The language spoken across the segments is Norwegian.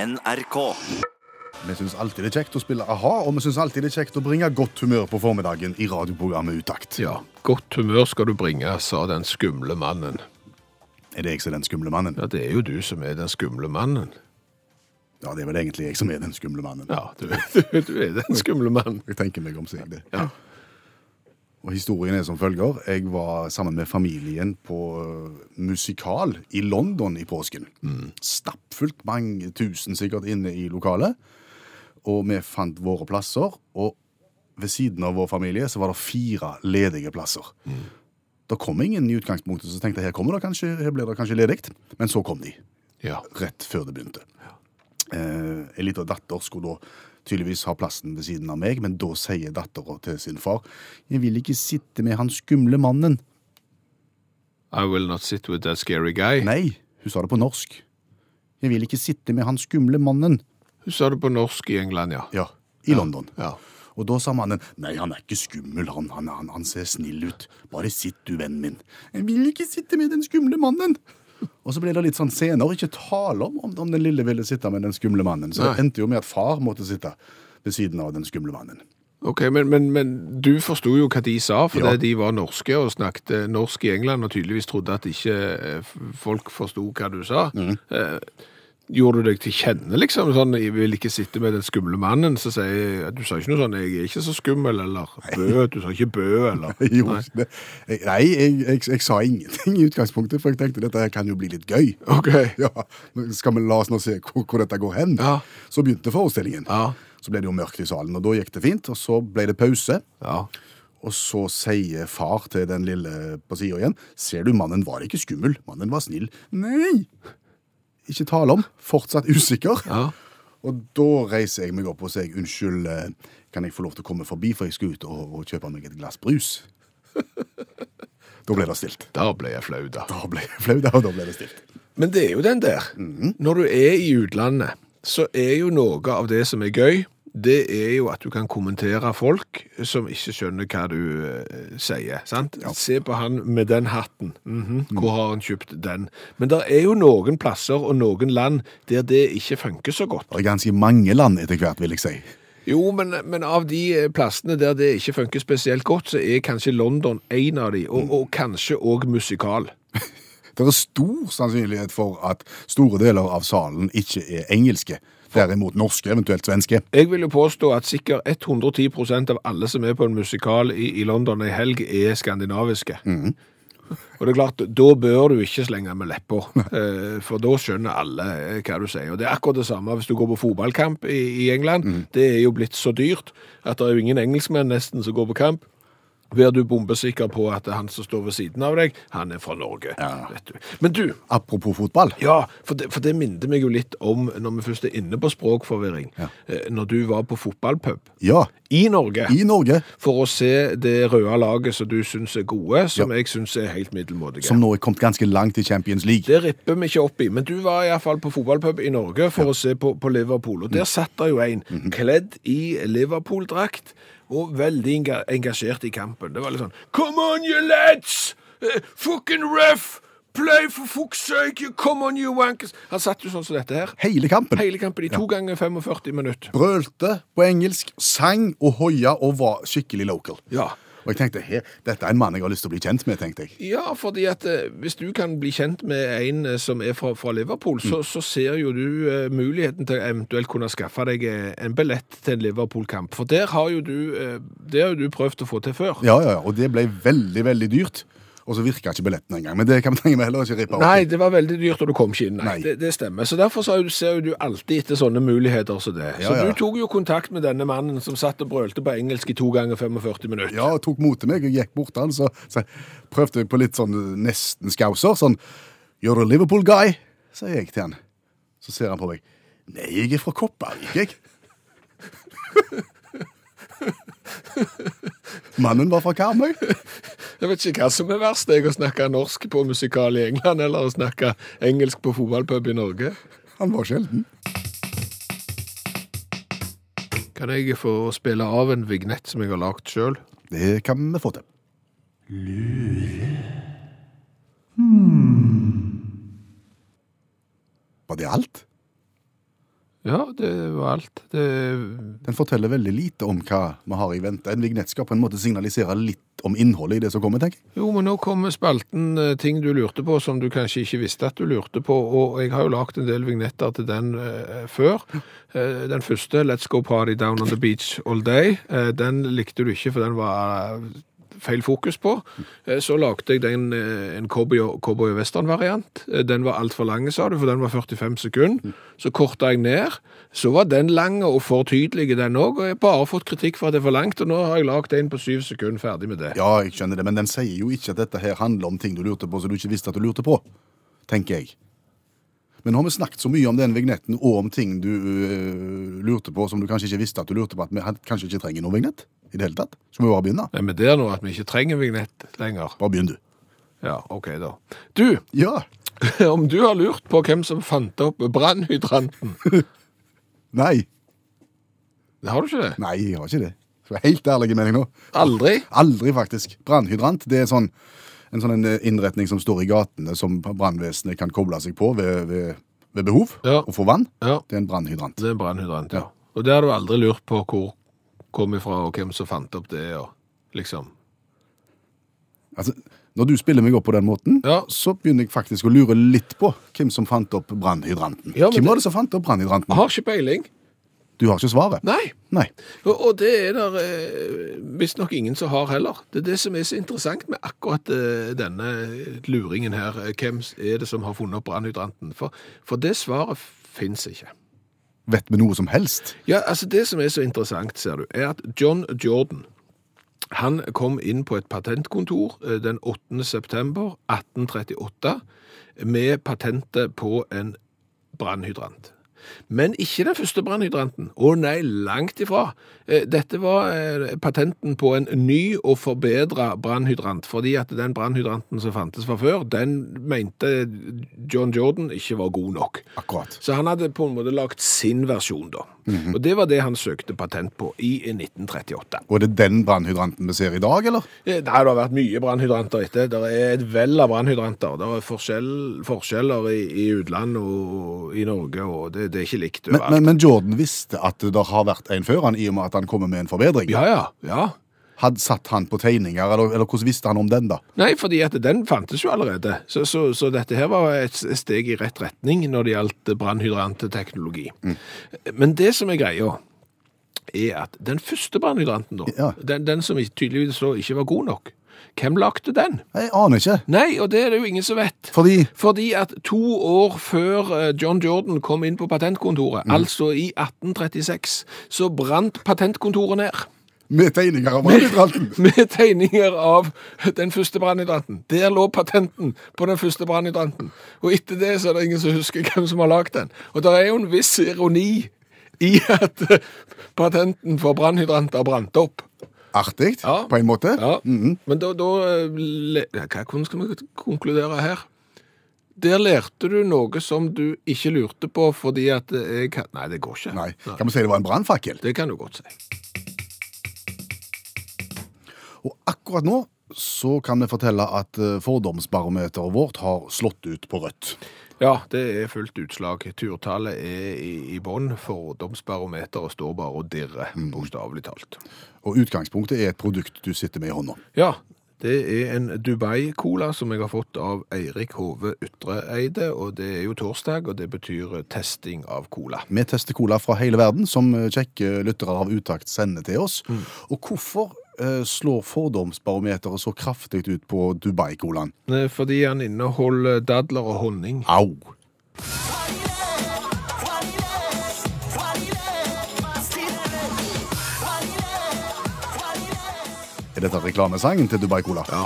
NRK. Vi syns alltid det er kjekt å spille a-ha, og vi syns alltid det er kjekt å bringe godt humør på formiddagen i radioprogrammet Utakt. Ja, godt humør skal du bringe, sa den skumle mannen. Er det jeg som er den skumle mannen? Ja, det er jo du som er den skumle mannen. Ja, det er vel egentlig jeg som er den skumle mannen. Ja, du, du, du er den skumle mannen. Jeg tenker meg om, sier jeg det. Sånn. Ja. Og historien er som følger. Jeg var sammen med familien på eh, musikal i London i påsken. Stappfullt mange tusen sikkert inne i lokalet. Og vi fant våre plasser, og ved siden av vår familie så var det fire ledige plasser. Da kom ingen i utgangspunktet, så tenkte jeg her kommer det kanskje, her blir det kanskje ledig. Men så kom de, Ja, rett før det begynte. Eh, en liten datter skulle da tydeligvis ha plassen ved siden av meg, men da sier dattera til sin far Jeg vil ikke sitte med han skumle mannen. I will not sit with that scary guy. Nei, hun sa det på norsk. Jeg vil ikke sitte med han skumle mannen. Hun sa det på norsk i England, ja. Ja, i London. Ja, Og da sa mannen Nei, han er ikke skummel, han, han, han, han ser snill ut. Bare sitt, du vennen min. Jeg vil ikke sitte med den skumle mannen. Og så ble det litt sånn senere ikke tale om, om om den lille ville sitte med den skumle mannen. Så det Nei. endte jo med at far måtte sitte ved siden av den skumle mannen. Ok, men, men, men du forsto jo hva de sa, for Ja. det de var norske og snakket eh, norsk i England og tydeligvis trodde at ikke eh, f- folk forsto hva du sa. Eh, Gjorde du deg til kjenne, liksom? Sånn, jeg vil ikke sitte med den skumle mannen, så sier jeg Du sa ikke noe sånn 'jeg er ikke så skummel', eller 'bø', du sa ikke 'bø', eller Jo, det, jeg- nei, jeg, jeg, jeg sa ingenting i utgangspunktet, for jeg tenkte dette her kan jo bli litt gøy. OK. Ja, men Skal vi la oss nå se hvor, hvor dette går hen? Ja. Så begynte forestillingen. Ja. Så ble det jo mørkt i salen, og da gikk det fint. Og så ble det pause, ja. og så sier far til den lille på sida igjen Ser du, mannen var ikke skummel, mannen var snill. Nei! Ikke tale om. Fortsatt usikker. Ja. Og da reiser jeg meg opp og sier unnskyld, eh, kan jeg få lov til å komme forbi, for jeg skal ut og, og kjøpe meg et glass brus. da ble det stilt. Da ble jeg flau, da. Da ble jeg flau, da, og da ble det stilt. Men det er jo den der. Når du er i utlandet, så er jo noe av det som er gøy, det er jo at du kan kommentere folk som ikke skjønner hva du eh, sier. sant? Se på han med den hatten. Mhm, Hvor har han kjøpt den? Men det er jo noen plasser og noen land der det ikke funker så godt. Det er ganske mange land etter hvert, vil jeg si. Jo, men, men av de eh, plassene der det ikke funker spesielt godt, så er kanskje London en av de, og, og kanskje òg musikal. Det er stor sannsynlighet for at store deler av salen ikke er engelske. Derimot norske, eventuelt svenske. Jeg vil jo påstå at sikkert 110 av alle som er på en musikal i, i London i helg, er skandinaviske. Og det er klart, da bør du ikke slenge med lepper, eh, for da skjønner alle eh, hva du sier. Og det er akkurat det samme hvis du går på fotballkamp i, i England. Det er jo blitt så dyrt at det er jo ingen engelskmenn nesten som går på kamp. Vær du bombesikker på at han som står ved siden av deg, han er fra Norge. Vet du. Men du, Apropos fotball. ja, for det, for det minte meg jo litt om, når vi først er inne på språkforvirring, eh, når du var på fotballpub Ja, i Norge i Norge, for å se det røde laget som du syns er gode, som jeg syns er helt middelmådige. som nå er kommet ganske langt i Champions League. Det ripper vi ikke opp i, men du var iallfall på fotballpub i Norge for å se på, på Liverpool, Mm. og der satt det jo en Mhm. kledd i Liverpool-drakt og veldig enga engasjert i kampen. Det var litt sånn Come on, you lads! Eh, fucking ref! Play for fuck's sake! you- Come on, you wankers! Han satt jo sånn som dette her. Hele kampen. Hele kampen i to ganger 45 minutter. Brølte på engelsk, sang og hoia og var skikkelig local. Ja. Og jeg tenkte, he, dette er en mann jeg har lyst til å bli kjent med, tenkte jeg. Ja, fordi at eh, hvis du kan bli kjent med en eh, som er fra, fra Liverpool, Mm. så, så ser jo du eh, muligheten til å eventuelt kunne skaffe deg eh, en billett til en Liverpool-kamp. For der har jo du, eh, det har jo du prøvd å få til før. Ja, ja, ja, og det ble veldig, veldig dyrt. Og så virka ikke billetten engang, men det kan vi trenger vi heller ikke rippe opp. Nei, i. det var veldig dyrt, og du kom ikke inn. Nei, Nei. Det, det stemmer. Så derfor så er jo- ser jo du alltid etter sånne muligheter som det. Så Ja, ja. du tok jo kontakt med denne mannen som satt og brølte på engelsk i to ganger 45 minutter. Ja, og tok mot til meg og gikk bort til han, så, så prøvde jeg på litt sånn eh, nesten skauser, sånn, you're a Liverpool guy, sier jeg til han. Så ser han på meg, nei, jeg er fra Kopparvik, jeg. Mannen var fra Karmøy. Jeg vet ikke hva som er verst, jeg å snakke norsk på musikal i England, eller å snakke engelsk på fotballpub i Norge. Han var sjelden. Kan jeg få spille av en vignett som jeg har lagd sjøl? Det kan vi få til. Hmm. Lure. Var det alt? Ja, det var alt. Det Den forteller veldig lite om hva vi har i vente. En vignett skal på en måte signalisere litt om innholdet i det som kommer, tenker jeg. Jo, men nå kommer spalten eh, ting du lurte på som du kanskje ikke visste at du lurte på, og jeg har jo lagt en del vignetter til den eh, før. Eh, den første, Let's Go Party Down on the Beach All Day, eh, den likte du ikke, for den var eh, feil fokus på. Eh, så lagde jeg den, eh, en cowboy- cowboy-western-variant. Eh, den var alt for lang, sa du, for den var 45 sekunder. Så kortet jeg ned. Så var den lang og for tydelig, den også, og jeg har bare fått kritikk for at det er for langt, og nå har jeg lagt en på syv sekunder ferdig med det. Ja, jeg skjønner det, men den sier jo ikke at dette her handler om ting du lurte på som du ikke visste at du lurte på, tenker jeg. Men nå har vi snakket så mye om den vignetten og om ting du øh, lurte på som du kanskje ikke visste at du lurte på, at vi had- kanskje ikke trenger noen vignett i det hele tatt. Skal vi bare begynne? Er vi der nå at vi ikke trenger vignett lenger? Bare begynn, du. Ja, ok da. Du, Ja. om du har lurt på hvem som fant opp brannhydranten, Nei. det har du ikke det? Nei, jeg har ikke det. Skal være helt ærlig med deg nå. Aldri? Aldri, faktisk. Brannhydrant det er sånn, en sånn en innretning som står i gatene, som brannvesenet kan koble seg på ved, ved, ved behov, Ja. og få vann. Ja, Det er en brannhydrant. det er en brannhydrant, ja. Og det har du aldri lurt på hvor kom ifra, og hvem som fant opp det, og liksom. Altså, når du spiller meg opp på den måten, Ja. så begynner jeg faktisk å lure litt på hvem som fant opp brannhydranten. Ja, hvem men det- var det som fant opp brannhydranten? Jeg har ikke peiling. Du har ikke svaret? Nei. Nei. Og, og det er der eh, visstnok ingen som har heller. Det er det som er så interessant med akkurat eh, denne luringen her. Hvem er det som har funnet opp brannhydranten? For, for det svaret fins ikke. Vet vi noe som helst? Ja, altså Det som er så interessant, ser du, er at John Jordan han kom inn på et patentkontor eh, den 8. september 1838 med patentet på en brannhydrant. Men ikke den første brannhydranten. Å nei, langt ifra. Eh, Dette var eh, patenten på en ny og forbedra brannhydrant, fordi at den brannhydranten som fantes fra før, den mente John Jordan ikke var god nok. Akkurat. Så han hadde på en måte lagt sin versjon, da. Mhm. Og det var det han søkte patent på i eh, 1938. Og er det den brannhydranten vi ser i dag, eller? Eh, Nei, det har vært mye brannhydranter etter. Det er et vell av brannhydranter. Det er forskjell, forskjeller i, i utlandet og i Norge, og det, det er ikke likt Men, overalt. men, men Jordan visste at det har vært en før han, i og med at han kommer med en forbedring. Ja, ja, ja. Hadde satt han på tegninger, eller, eller hvordan visste han om den, da? Nei, fordi at den fantes jo allerede. Så, så, så dette her var et s- steg i rett retning når det gjaldt brannhydranteteknologi. Men det som er greia, er at den første brannhydranten, da, Ja. den, den som tydeligvis da ikke var god nok, hvem lagde den? Jeg aner ikke. Nei, og det er det jo ingen som vet. Fordi Fordi at to år før eh, John Jordan kom inn på patentkontoret, altså i 1836, så brant patentkontoret ned med tegninger av brannhydranten. med tegninger av den første brannhydranten. Der lå patenten på den første brannhydranten. Og etter det så er det ingen som husker hvem som har lagd den. Og det er jo en viss ironi i at eh, patenten for brannhydranter brant opp. Artig, Ja. på en måte. Ja, Men da, da eh, le- ja, Hva hvordan skal vi konkludere her? Der lærte du noe som du ikke lurte på fordi at jeg kan- Nei, det går ikke. Nei, Kan vi si det var en brannfakkel? Det kan du godt si. Og akkurat nå så kan vi fortelle at eh, fordomsbarometeret vårt har slått ut på rødt. Ja, det er fullt utslag. Turtallet er i, i bånn. Fordomsbarometeret står bare og dirrer, Mm. bokstavelig talt. Og utgangspunktet er et produkt du sitter med i hånda. Ja, det er en Dubai-cola som jeg har fått av Eirik Hove Ytreeide, og det er jo torsdag, og det betyr testing av cola. Vi tester cola fra hele verden, som eh, kjekke lyttere av utakt sender til oss. Mm. Og hvorfor eh, slår fordomsbarometeret så kraftig ut på Dubai-colaen? Eh, Fordi han inneholder dadler og honning. Au! Er dette reklamesangen til Dubai Cola? Ja.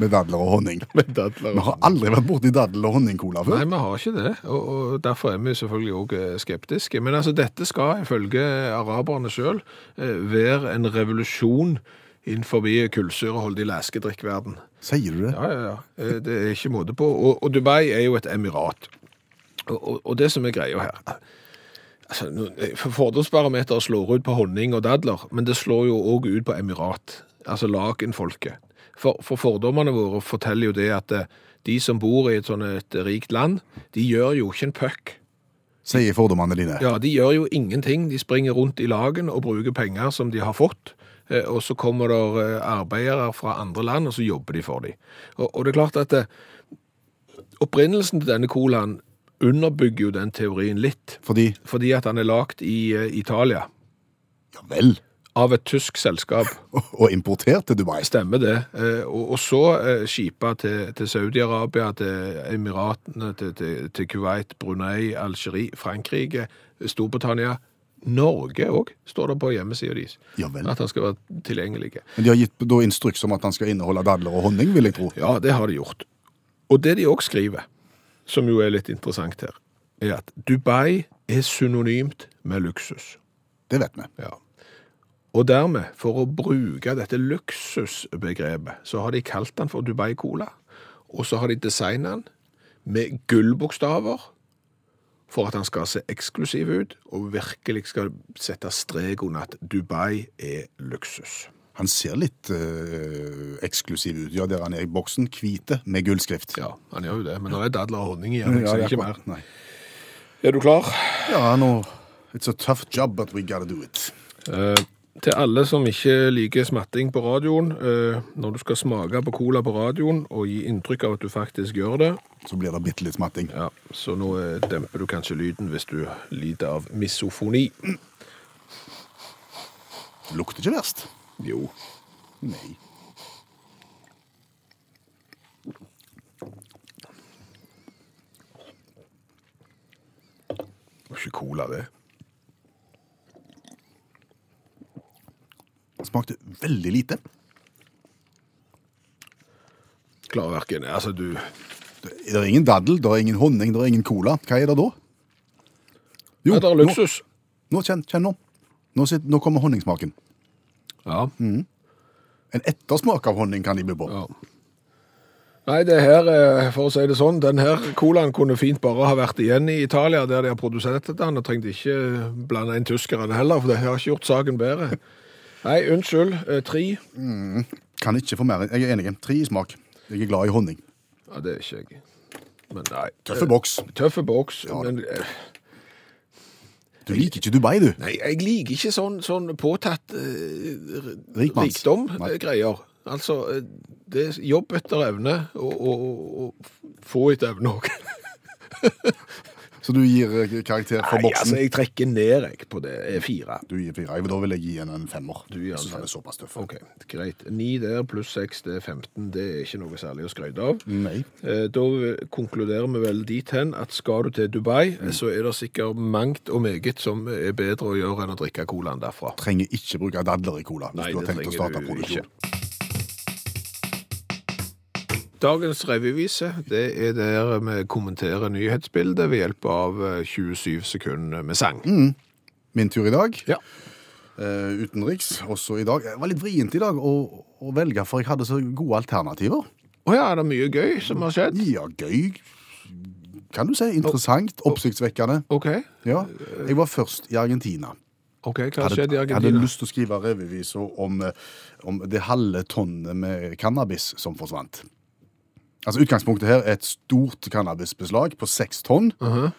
Med dadler og honning. Med dadler Vi har aldri vært borti dadel- og honningcola før. Nei, vi har ikke det, og, og derfor er vi selvfølgelig også eh, skeptiske. Men altså, dette skal ifølge araberne selv eh, være en revolusjon innenfor kullsyreholdig leskedrikkverden. Sier du det? Ja, ja, ja. Eh, Det er ikke måte på. Og, og Dubai er jo et emirat. Og, og, og det som er greia her altså, nå- eh, for Fordomsbarometer slår ut på honning og dadler, men det slår jo òg ut på emirat, altså lakenfolket. For, for fordommene våre forteller jo det at eh, de som bor i et sånn et rikt land, de gjør jo ikke en puck. Sier fordommene dine. Ja, de gjør jo ingenting. De springer rundt i lagen og bruker penger som de har fått. eh, Og så kommer det arbeidere fra andre land, og så jobber de for dem. Og, og det er klart at eh, opprinnelsen til denne colaen underbygger jo den teorien litt. Fordi Fordi at han er lagd i eh, Italia Ja vel. av et tysk selskap. Og importert til Dubai. Stemmer det. Eh, Og, og så eh, skipa til, til Saudi-Arabia, til Emiratene, til, til, til Kuwait, Brunei, Algerie, Frankrike, Storbritannia. Norge òg, står det på hjemmesida deres. Ja vel. At han skal være tilgjengelig. Men de har gitt da instruks om at han skal inneholde dadler og honning, vil jeg tro. Ja, det har de gjort. Og det de òg skriver, som jo er litt interessant her, er at Dubai er synonymt med luksus. Det vet vi. Ja. Og dermed, for å bruke dette luksusbegrepet, så har de kalt den for Dubai Cola. Og så har de designet den med gullbokstaver for at den skal se eksklusiv ut, og virkelig skal sette strek under at Dubai er luksus. Han ser litt eh, eksklusiv ut. Ja, der han er i boksen. Hvite med gullskrift. Ja, han gjør jo det, men det er dadler og honning igjen, Ja, så det ikke akkurat. mer. Nei. Er du klar? Ja, nå It's a tough job, but we gotta do it. Eh, til alle som ikke liker smatting på radioen, eh, når du skal smake på cola på radioen og gi inntrykk av at du faktisk gjør det, Så blir det bitte litt smatting. Ja, så nå eh, demper du kanskje lyden hvis du lider av misofoni. Lukter ikke verst. Jo. Nei. Det var ikke cola, det. Smakte veldig lite. Klarer hverken Altså, du Det er ingen daddel, det er ingen honning, det er ingen cola. Hva er det da? Ja, det er nå, luksus. nå kjenn, kjenn nå. Nå, sitter, nå kommer honningsmaken. Ja. En ettersmak av honning kan de by på. Mm. ja. Nei, det her, eh, for å si det sånn, den her colaen kunne fint bare ha vært igjen i Italia, der de har produsert den, og trengte ikke eh, blande inn tyskerne heller, for det har ikke gjort saken bedre. Nei, unnskyld. eh, Tre. Kan ikke få mer. Jeg er enig. Tre i smak. Jeg er glad i honning. Ja, det er ikke jeg. Men nei. eh, Tøffe boks. Tøffe boks, Ja. men eh, Du liker ikke Dubai, du. Nei, jeg liker ikke sånn, sånn påtatt eh, Rikmanns. Nei. rikdom-greier. Altså, eh, det er jobb etter evne, og, og, og, og få etter evne òg. Så du gir eh, karakter for altså, boksen? jeg trekker ned jeg på det. Eh, Fire. Du gir fire. Jeg- Da vil jeg gi henne en femmer. Du gir en Så fem. den er såpass tøff. OK, greit. Ni der pluss seks, det er 15. Det er ikke noe særlig å skryte av. Nei. Eh, Da konkluderer vi vel dit hen at skal du til Dubai, Mm. eh, så er det sikkert mangt og meget som er bedre å gjøre enn å drikke colaen derfra. Trenger ikke bruke dadler i cola hvis Nei, du har det tenkt å trenger starte du produksjon. Dagens revyvise det er der vi kommenterer nyhetsbildet ved hjelp av eh, 27 sekunder med sang. Mm. Min tur i dag. Ja. eh, utenriks også i dag. Det var litt vrient i dag å, å velge, for jeg hadde så gode alternativer. Å ja, er det mye gøy som har skjedd? Ja, gøy Kan du si. Interessant. Oppsiktsvekkende. OK, Ja. Jeg var først i Argentina. ok, hva har Hadde, skjedd i jeg hadde Argentina? lyst til å skrive revyviser om, eh, om det halve tonnet med cannabis som forsvant. Altså Utgangspunktet her er et stort cannabisbeslag på seks tonn, eh,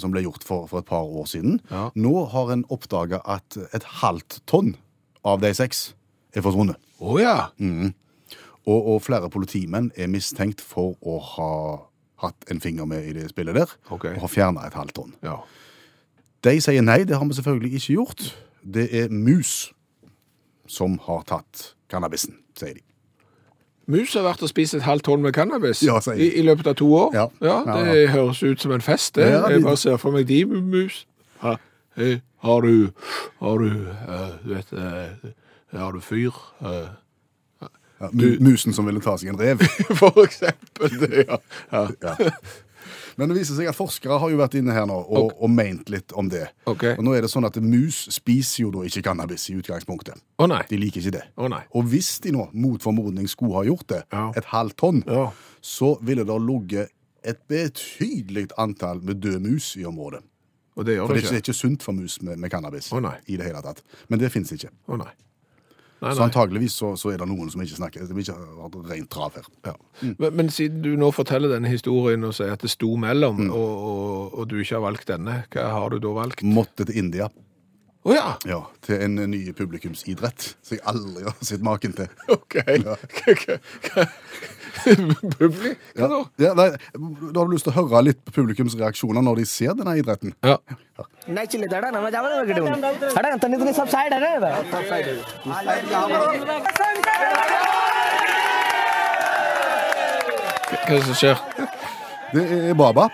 som ble gjort for, for et par år siden. Ja. Nå har en oppdaga at et halvt tonn av de seks er forsvunnet. Å ja. Mm. Og, og flere politimenn er mistenkt for å ha hatt en finger med i det spillet der, Ok. og har fjerna et halvt tonn. ja. De sier nei, det har vi selvfølgelig ikke gjort. Det er mus som har tatt cannabisen, sier de. Mus har vært og spist et halvt tonn med cannabis Ja, sier i, jeg. i løpet av to år. Ja. det Ja, høres ut som en fest, det. Ja, Jeg de- bare ser for meg de mus. Ha, eh, har du Har du eh, Du vet eh, Har du fyr? eh, Ja, mu musen som ville ta seg en rev. For eksempel det, ja. ja. Ja. Men det viser seg at forskere har jo vært inne her nå og, og ment litt om det. Ok. Og nå er det sånn at mus spiser jo da ikke cannabis i utgangspunktet. Å nei. De liker ikke det. Å nei. Og hvis de nå, mot formodning, skulle ha gjort det, Ja. et halvt tonn, Ja. så ville det ligget et betydelig antall med døde mus i området. Og det gjør For det det er ikke, det er ikke. ikke sunt for mus med, med cannabis. Å, nei. i det hele tatt. Men det fins ikke. Å nei. Nei, Så nei. antageligvis så, så er det noen som ikke snakker, som ikke har rent trav her. Ja. Men, men siden du nå forteller denne historien og sier at det sto mellom, Mm. og, og, og du ikke har valgt denne, hva har du da valgt? Å Måtte til India, ja! ja, til en ny publikumsidrett som jeg aldri har sett maken til. OK. Publi? Hva da? Ja, nei, da har du lyst til å høre litt på publikums reaksjoner når de ser denne idretten. Ja. नाही चिल्ले धडा ना मजा आवाज वगैरे धडा ना तन्नी तुम्ही सब साइड आहे ना Hva er det som skjer? Det er Baba.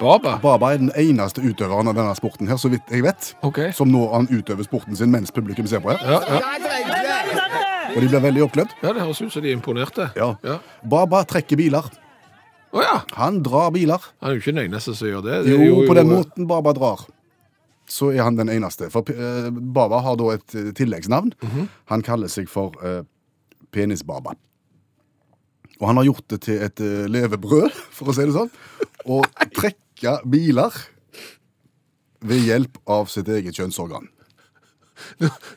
Baba? Baba er den eneste utøveren av denne sporten her, så vidt jeg vet. Ok. Som nå han utøver sporten sin mens publikum ser på her. Ja, ja. Og de blir veldig oppglødd. ja, det høres ut som de er imponerte. Ja. Ja. Baba trekker biler. Å ja! Han drar biler. Han er jo ikke den eneste som gjør det. Det Jo, er på den måten Baba drar, så er han den eneste. For eh, Baba har da et eh, tilleggsnavn. Han kaller seg for eh, Penis-Baba. Og han har gjort det til et eh, levebrød, for å si det sånn, å trekke biler ved hjelp av sitt eget kjønnsorgan.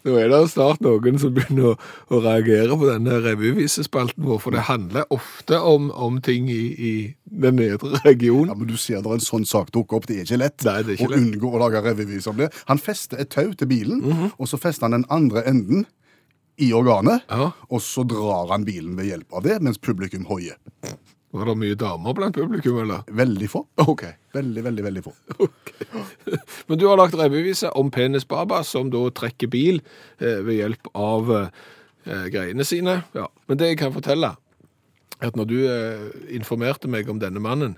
Nå er det snart noen som begynner å, å reagere på denne revyvisespalten vår, for det handler ofte om, om ting i, i den nedre Ja, regionen. men du ser der en sånn sak dukker opp. Det er ikke lett Nei, det er ikke å lett. unngå å lage revyvis om det. Han fester et tau til bilen, Mhm. og så fester han den andre enden i organet, Ja. og så drar han bilen ved hjelp av det, mens publikum hoier. Var det mye damer blant publikum, eller? Veldig få. Ok. Veldig, veldig, veldig få. Men du har lagt revyvise om Penis Baba, som da trekker bil eh, ved hjelp av eh, greiene sine. Ja. Men det jeg kan fortelle, er at når du eh, informerte meg om denne mannen,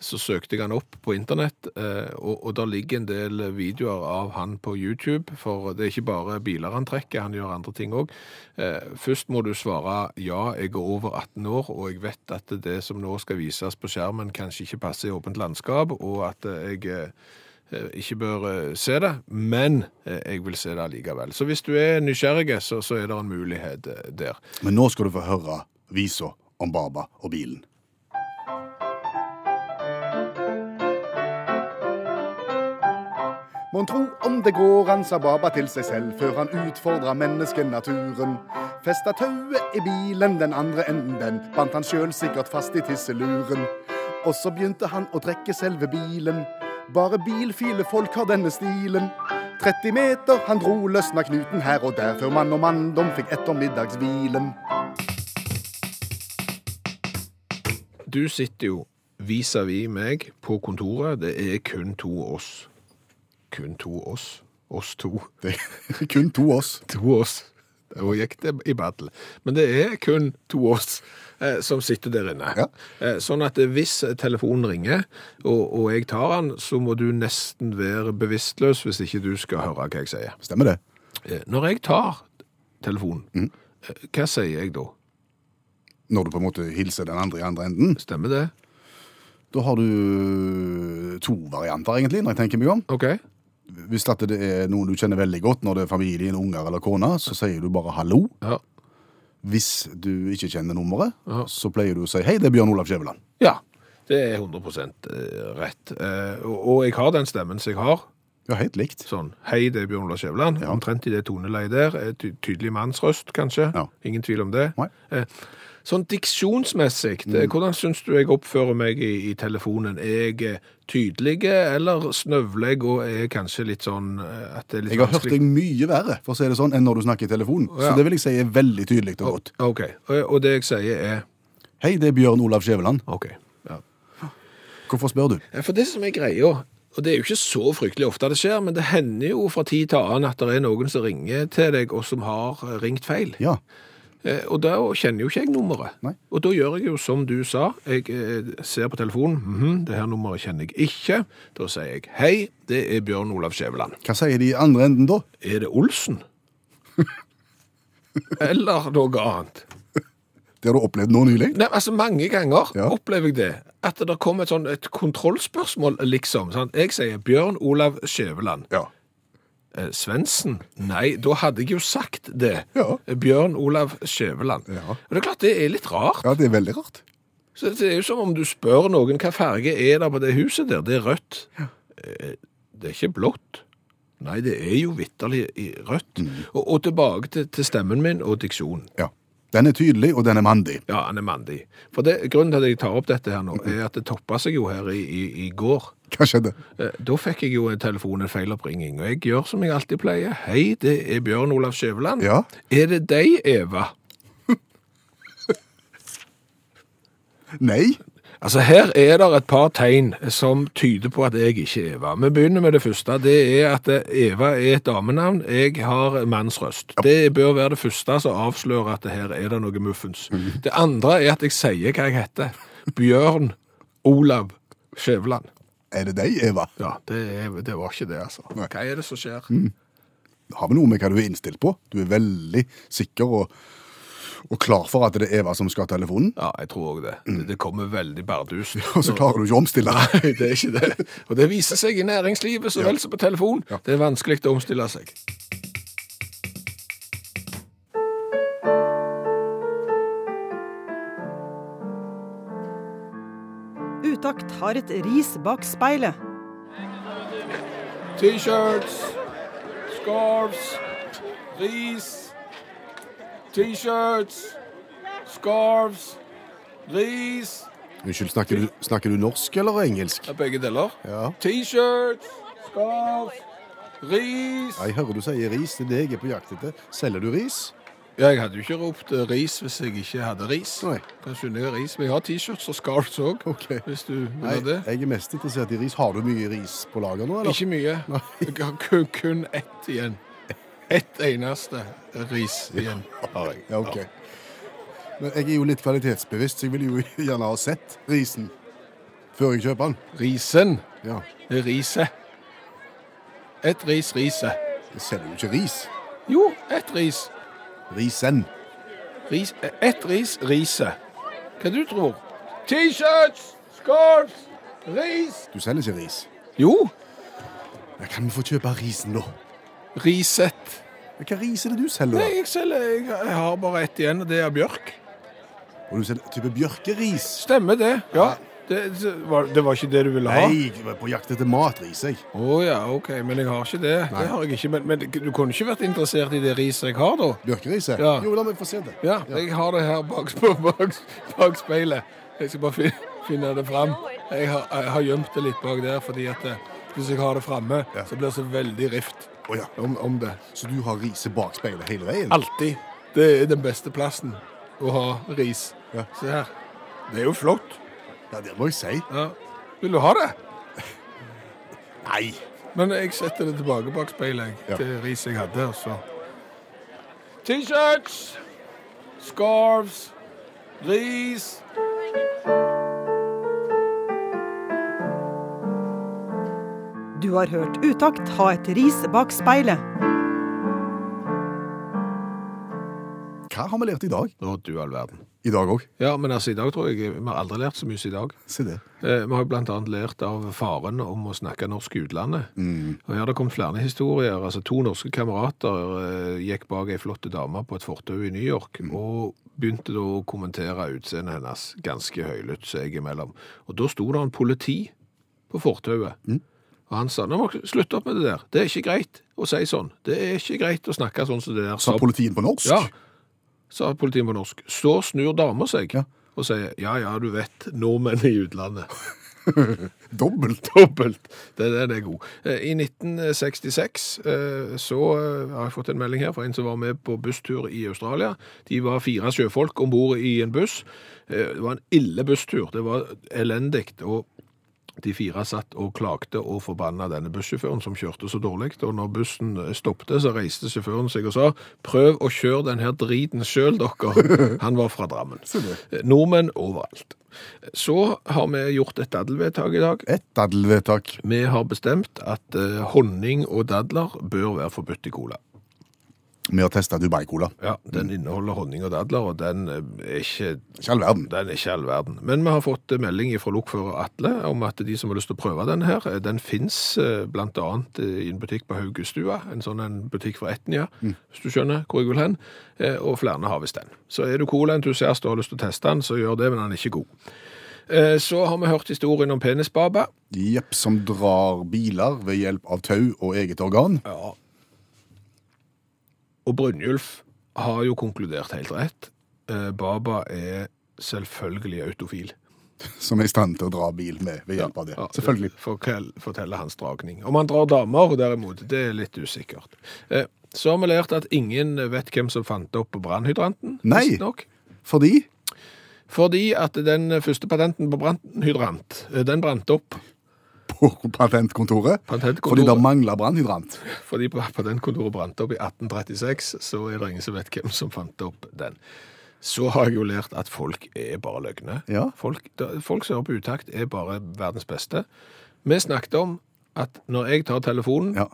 så søkte jeg han opp på internett, eh, og, og der ligger en del videoer av han på YouTube, for det er ikke bare biler han trekker, han gjør andre ting òg. Eh, først må du svare ja, jeg er over 18 år, og jeg vet at det som nå skal vises på skjermen, kanskje ikke passer i åpent landskap, og at eh, jeg eh, eh, ikke bør eh, se det, men eh, jeg vil se det allikevel. Så hvis du er nysgjerrig, så, så er det en mulighet eh, der. Men nå skal du få høre visa om Baba og bilen. Mon tro om det går, han sa Baba til seg selv før han utfordra menneskenaturen. Festa tauet i bilen, den andre enden den bandt han sjøl sikkert fast i tisseluren. Og så begynte han å trekke selve bilen. Bare bilfilefolk har denne stilen. 30 meter, han dro løsna knuten her og der, før mann og manndom fikk ettermiddagshvilen. Du sitter jo vis-à-vis meg på kontoret. Det er kun to oss. Kun to oss. Oss to. Det er kun to oss. To oss. Og gikk det i battle. Men det er kun to oss eh, som sitter der inne. Ja. Eh, sånn at hvis telefonen ringer, og, og jeg tar den, så må du nesten være bevisstløs hvis ikke du skal høre hva jeg sier. Stemmer det? Eh, Når jeg tar telefonen, Mm. eh, hva sier jeg da? Når du på en måte hilser den andre i andre enden. Stemmer det? Da har du to varianter, egentlig, når jeg tenker meg om. Ok. Hvis at det er noen du kjenner veldig godt, når det er familien, unger eller kona, så sier du bare hallo. Ja. Hvis du ikke kjenner nummeret, Ja. så pleier du å si hei, det er Bjørn Olav Skjæveland. ja. Det er 100 eh, rett. Eh, Og og jeg har den stemmen som jeg har. Ja, helt likt. Sånn Hei, det er Bjørn Olav Skjæveland. Ja. Omtrent i det toneleiet der. Eh, ty- Tydelig mannsrøst, kanskje. Ja. Ingen tvil om det. Nei. Mm. Eh, Sånn diksjonsmessig, eh, hvordan syns du jeg oppfører meg i, i telefonen? Er jeg eh, tydelig, eh, eller snøvler jeg og er kanskje litt sånn eh, at det er litt Jeg har hørt vanskelig- deg mye verre, for å si det sånn, enn når du snakker i telefonen. Så Ja. det vil jeg si er veldig tydelig og godt. OK. Og- Og det jeg sier, er Hei, det er Bjørn Olav Skjæveland. OK. Ja. Hvorfor spør du? Ja, for det som er greia, og det er jo ikke så fryktelig ofte det skjer, men det hender jo fra tid til annen at det er noen som ringer til deg, og som har eh, ringt feil. Ja. Eh, Og da kjenner jo ikke jeg nummeret. Nei. Og da gjør jeg jo som du sa, jeg eh, ser på telefonen, «Mhm, det her nummeret kjenner jeg ikke. Da sier jeg, hei, det er Bjørn Olav Skjæveland. Hva sier de i andre enden da? Er det Olsen? Eller noe annet? Det har du opplevd nå nylig? Nei, altså Mange ganger Ja. opplever jeg det. At det kommer et, sånn, et kontrollspørsmål, liksom. Sant? Jeg sier Bjørn Olav Skjæveland. Ja. Eh, Svendsen? Nei, da hadde jeg jo sagt det. Eh, Ja. Bjørn Olav Skjæveland. Ja. Og det er klart, det er litt rart. Ja, det er veldig rart. Så det er jo som om du spør noen hva farge er det på det huset der. Det er rødt. Eh, Det er ikke blått. Nei, det er jo vitterlig i rødt. Mm. Og, og tilbake til, til stemmen min og diksjonen. Ja. Den er tydelig, og den er mandig. Ja, han er mandig. For det, grunnen til at jeg tar opp dette her nå, Mm. er at det toppa seg jo her i, i, i går. Hva skjedde? Eh, Da fikk jeg jo en telefon, en feiloppringning, og jeg gjør som jeg alltid pleier. Hei, det er Bjørn Olav Skjæveland. Ja. Er det deg, Eva? Nei? Altså, her er det et par tegn som tyder på at jeg ikke er Eva. Vi begynner med det første. Det er at eh, Eva er et damenavn. Jeg har mannsrøst. Det bør være det første som avslører at det her er det noe muffens. Det andre er at jeg sier hva jeg heter. Bjørn Olav Skjæveland. Er det deg, Eva? Ja, det, er, det var ikke det, altså. Hva er det som skjer? Har vi noe med hva du er innstilt på? Du er veldig sikker og, og klar for at det er Eva som skal ha telefonen, Ja, jeg tror òg det. det. Det kommer veldig bardust. og så klarer du ikke å omstille deg. Nei, det er ikke det. Og det viser seg i næringslivet så vel som på telefon. Det er vanskelig å omstille seg. Utakt har et ris bak speilet. T-shirts, scarves, ris. T-shirts, scarves, ris. Unnskyld, snakker du, snakker du norsk eller engelsk? Det er begge deler. Ja. T-shirts, scarves, ris. Jeg hører du sier ris, det er det jeg er på jakt etter. Selger du ris? Jeg hadde jo ikke ropt eh, ris hvis jeg ikke hadde ris. Nei. Kan skynde deg ris. Men jeg har T-shirts og scarves òg, Ok. hvis du vil ha det. jeg er mest interessert i ris. Har du mye ris på lager nå, Ikke mye. Jeg har kun, kun ett igjen. Ett eneste ris igjen har jeg. Ja, ok. Men jeg er jo litt kvalitetsbevisst, så jeg vil jo gjerne ha sett risen før jeg kjøper den. Risen. Ja, Det er riset. Ett ris, riset. jeg selger jo ikke ris. Jo, ett ris. Risen. ris ett ris, riset. Hva du tror? T-shirts, scarves, ris. Du selger ikke ris. Jo, Ja, kan vi få kjøpe risen da? riset. Ja, Hva ris er det du selger Nei, da? jeg, selger, jeg jeg har bare ett igjen, og det er bjørk. Og du selger type bjørkeris. Stemmer det. Ja. Det, det, var, det var ikke det du ville ha? Nei, jeg var på jakt etter matris, jeg. Å ja, OK, men jeg har ikke det. Det har jeg ikke, men, men du kunne ikke vært interessert i det riset jeg har, da? Bjørkeris, jeg. Ja. Jo, la meg få se det. Ja, jeg har det her bak, bak, bak speilet. Jeg skal bare fin, finne det fram. Jeg har, jeg har gjemt det litt bak der, fordi at eh, hvis jeg har det framme, Ja. så blir det så veldig rift Å ja. om, om det. Så du har riset bak speilet hele veien? Alltid. Det er den beste plassen å ha ris. Ja. Se her. Det er jo flott. Ja, det må jeg si. Ja. Vil du ha det? Nei. Men jeg setter det tilbake bak speilet jeg, Ja. til ris jeg hadde, og så T-shirts, scarves, ris Du har hørt Utakt ha et ris bak speilet. Hva har vi lært i dag? Å, du all verden. I dag òg. Ja, men altså, i dag tror jeg Vi har aldri lært så mye som i dag. Se det. Eh, vi har jo blant annet lært av faren om å snakke norsk i utlandet. Mm. Og her har det kommet flere historier. Altså, to norske kamerater eh, gikk bak ei flott dame på et fortau i New York. Mm. og begynte da å kommentere utseendet hennes ganske høylytt seg imellom. Og da sto det en politi på fortauet. Mm. Og han sa nå må dere slutte opp med det der. Det er ikke greit å si sånn. Det er ikke greit å snakke sånn som det der. Sa Så- politien på norsk? ja, sa politiet på norsk. Så snur dama seg Ja. og sier ja, ja, du vet, nordmenn i utlandet. Dobbelt. Dobbelt. Det, den er god. Eh, I 1966 eh, så eh, har jeg fått en melding her fra en som var med på busstur i Australia. De var fire sjøfolk om bord i en buss. Eh, Det var en ille busstur. Det var elendig. og de fire satt og klagde og forbanna denne bussjåføren som kjørte så dårlig. Og når bussen stoppte, så reiste sjåføren seg og sa prøv å kjøre den her driten sjøl, dere. Han var fra Drammen. Eh, Nordmenn overalt. Så har vi gjort et daddelvedtak i dag. Ett daddelvedtak. Vi har bestemt at eh, honning og dadler bør være forbudt i cola. Vi har testa Dubai-cola. Ja, Den inneholder honning og dadler, og den eh, er ikke Mm. Ikke all verden. Den er ikke all verden. Men vi har fått eh, melding fra lokfører Atle om at de som har lyst til å prøve denne her, eh, den eh, fins bl.a. eh, i en butikk på Haugestua. En sånn en butikk fra Etnia, hvis du skjønner hvor jeg vil hen. Eh, Og flere har visst den. Så er du colaentusiast og har lyst til å teste den, så gjør det, men den er ikke god. Eh, Så har vi hørt historien om penisbaba. Jepp, som drar biler ved hjelp av tau og eget organ. Ja. Og Brynjulf har jo konkludert helt rett. Eh, Baba er selvfølgelig autofil. Som er i stand til å dra bil med ved hjelp av det. Ja, Selvfølgelig. fortell- Forteller hans dragning. Om han drar damer, derimot, det er litt usikkert. Eh, Så har vi lært at ingen vet hvem som fant opp brannhydranten. Nei. visstnok. Fordi Fordi at den første patenten på brannhydrant, eh, den brant opp. på patentkontoret, fordi det Patentkontoret, mangler brannhydrant. fordi patentkontoret brant opp i 1836, så er det ingen som vet hvem som fant opp den. Så har jeg jo lært at folk er bare løgne. Ja. Folk, da- folk som er på utakt er bare verdens beste. Vi snakket om at når jeg tar telefonen, Ja.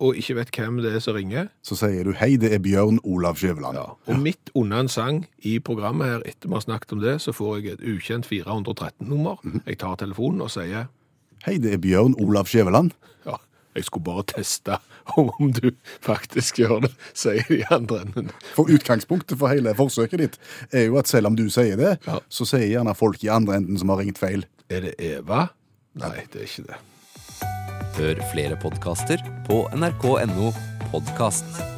og ikke vet hvem det er som ringer. Så sier du 'hei, det er Bjørn Olav Skjæveland'. Ja. Og midt under en sang i programmet her, etter vi har snakket om det, så får jeg et ukjent 413-nummer. Mhm. Jeg tar telefonen og sier 'Hei, det er Bjørn Olav Skjæveland'. ja, jeg skulle bare teste om om du faktisk gjør det, sier de andre enden. For utgangspunktet for hele forsøket ditt er jo at selv om du sier det, Ja. så sier gjerne folk i andre enden som har ringt feil. Er det Eva? Nei, det er ikke det. Hør flere podkaster på nrk.no podkast.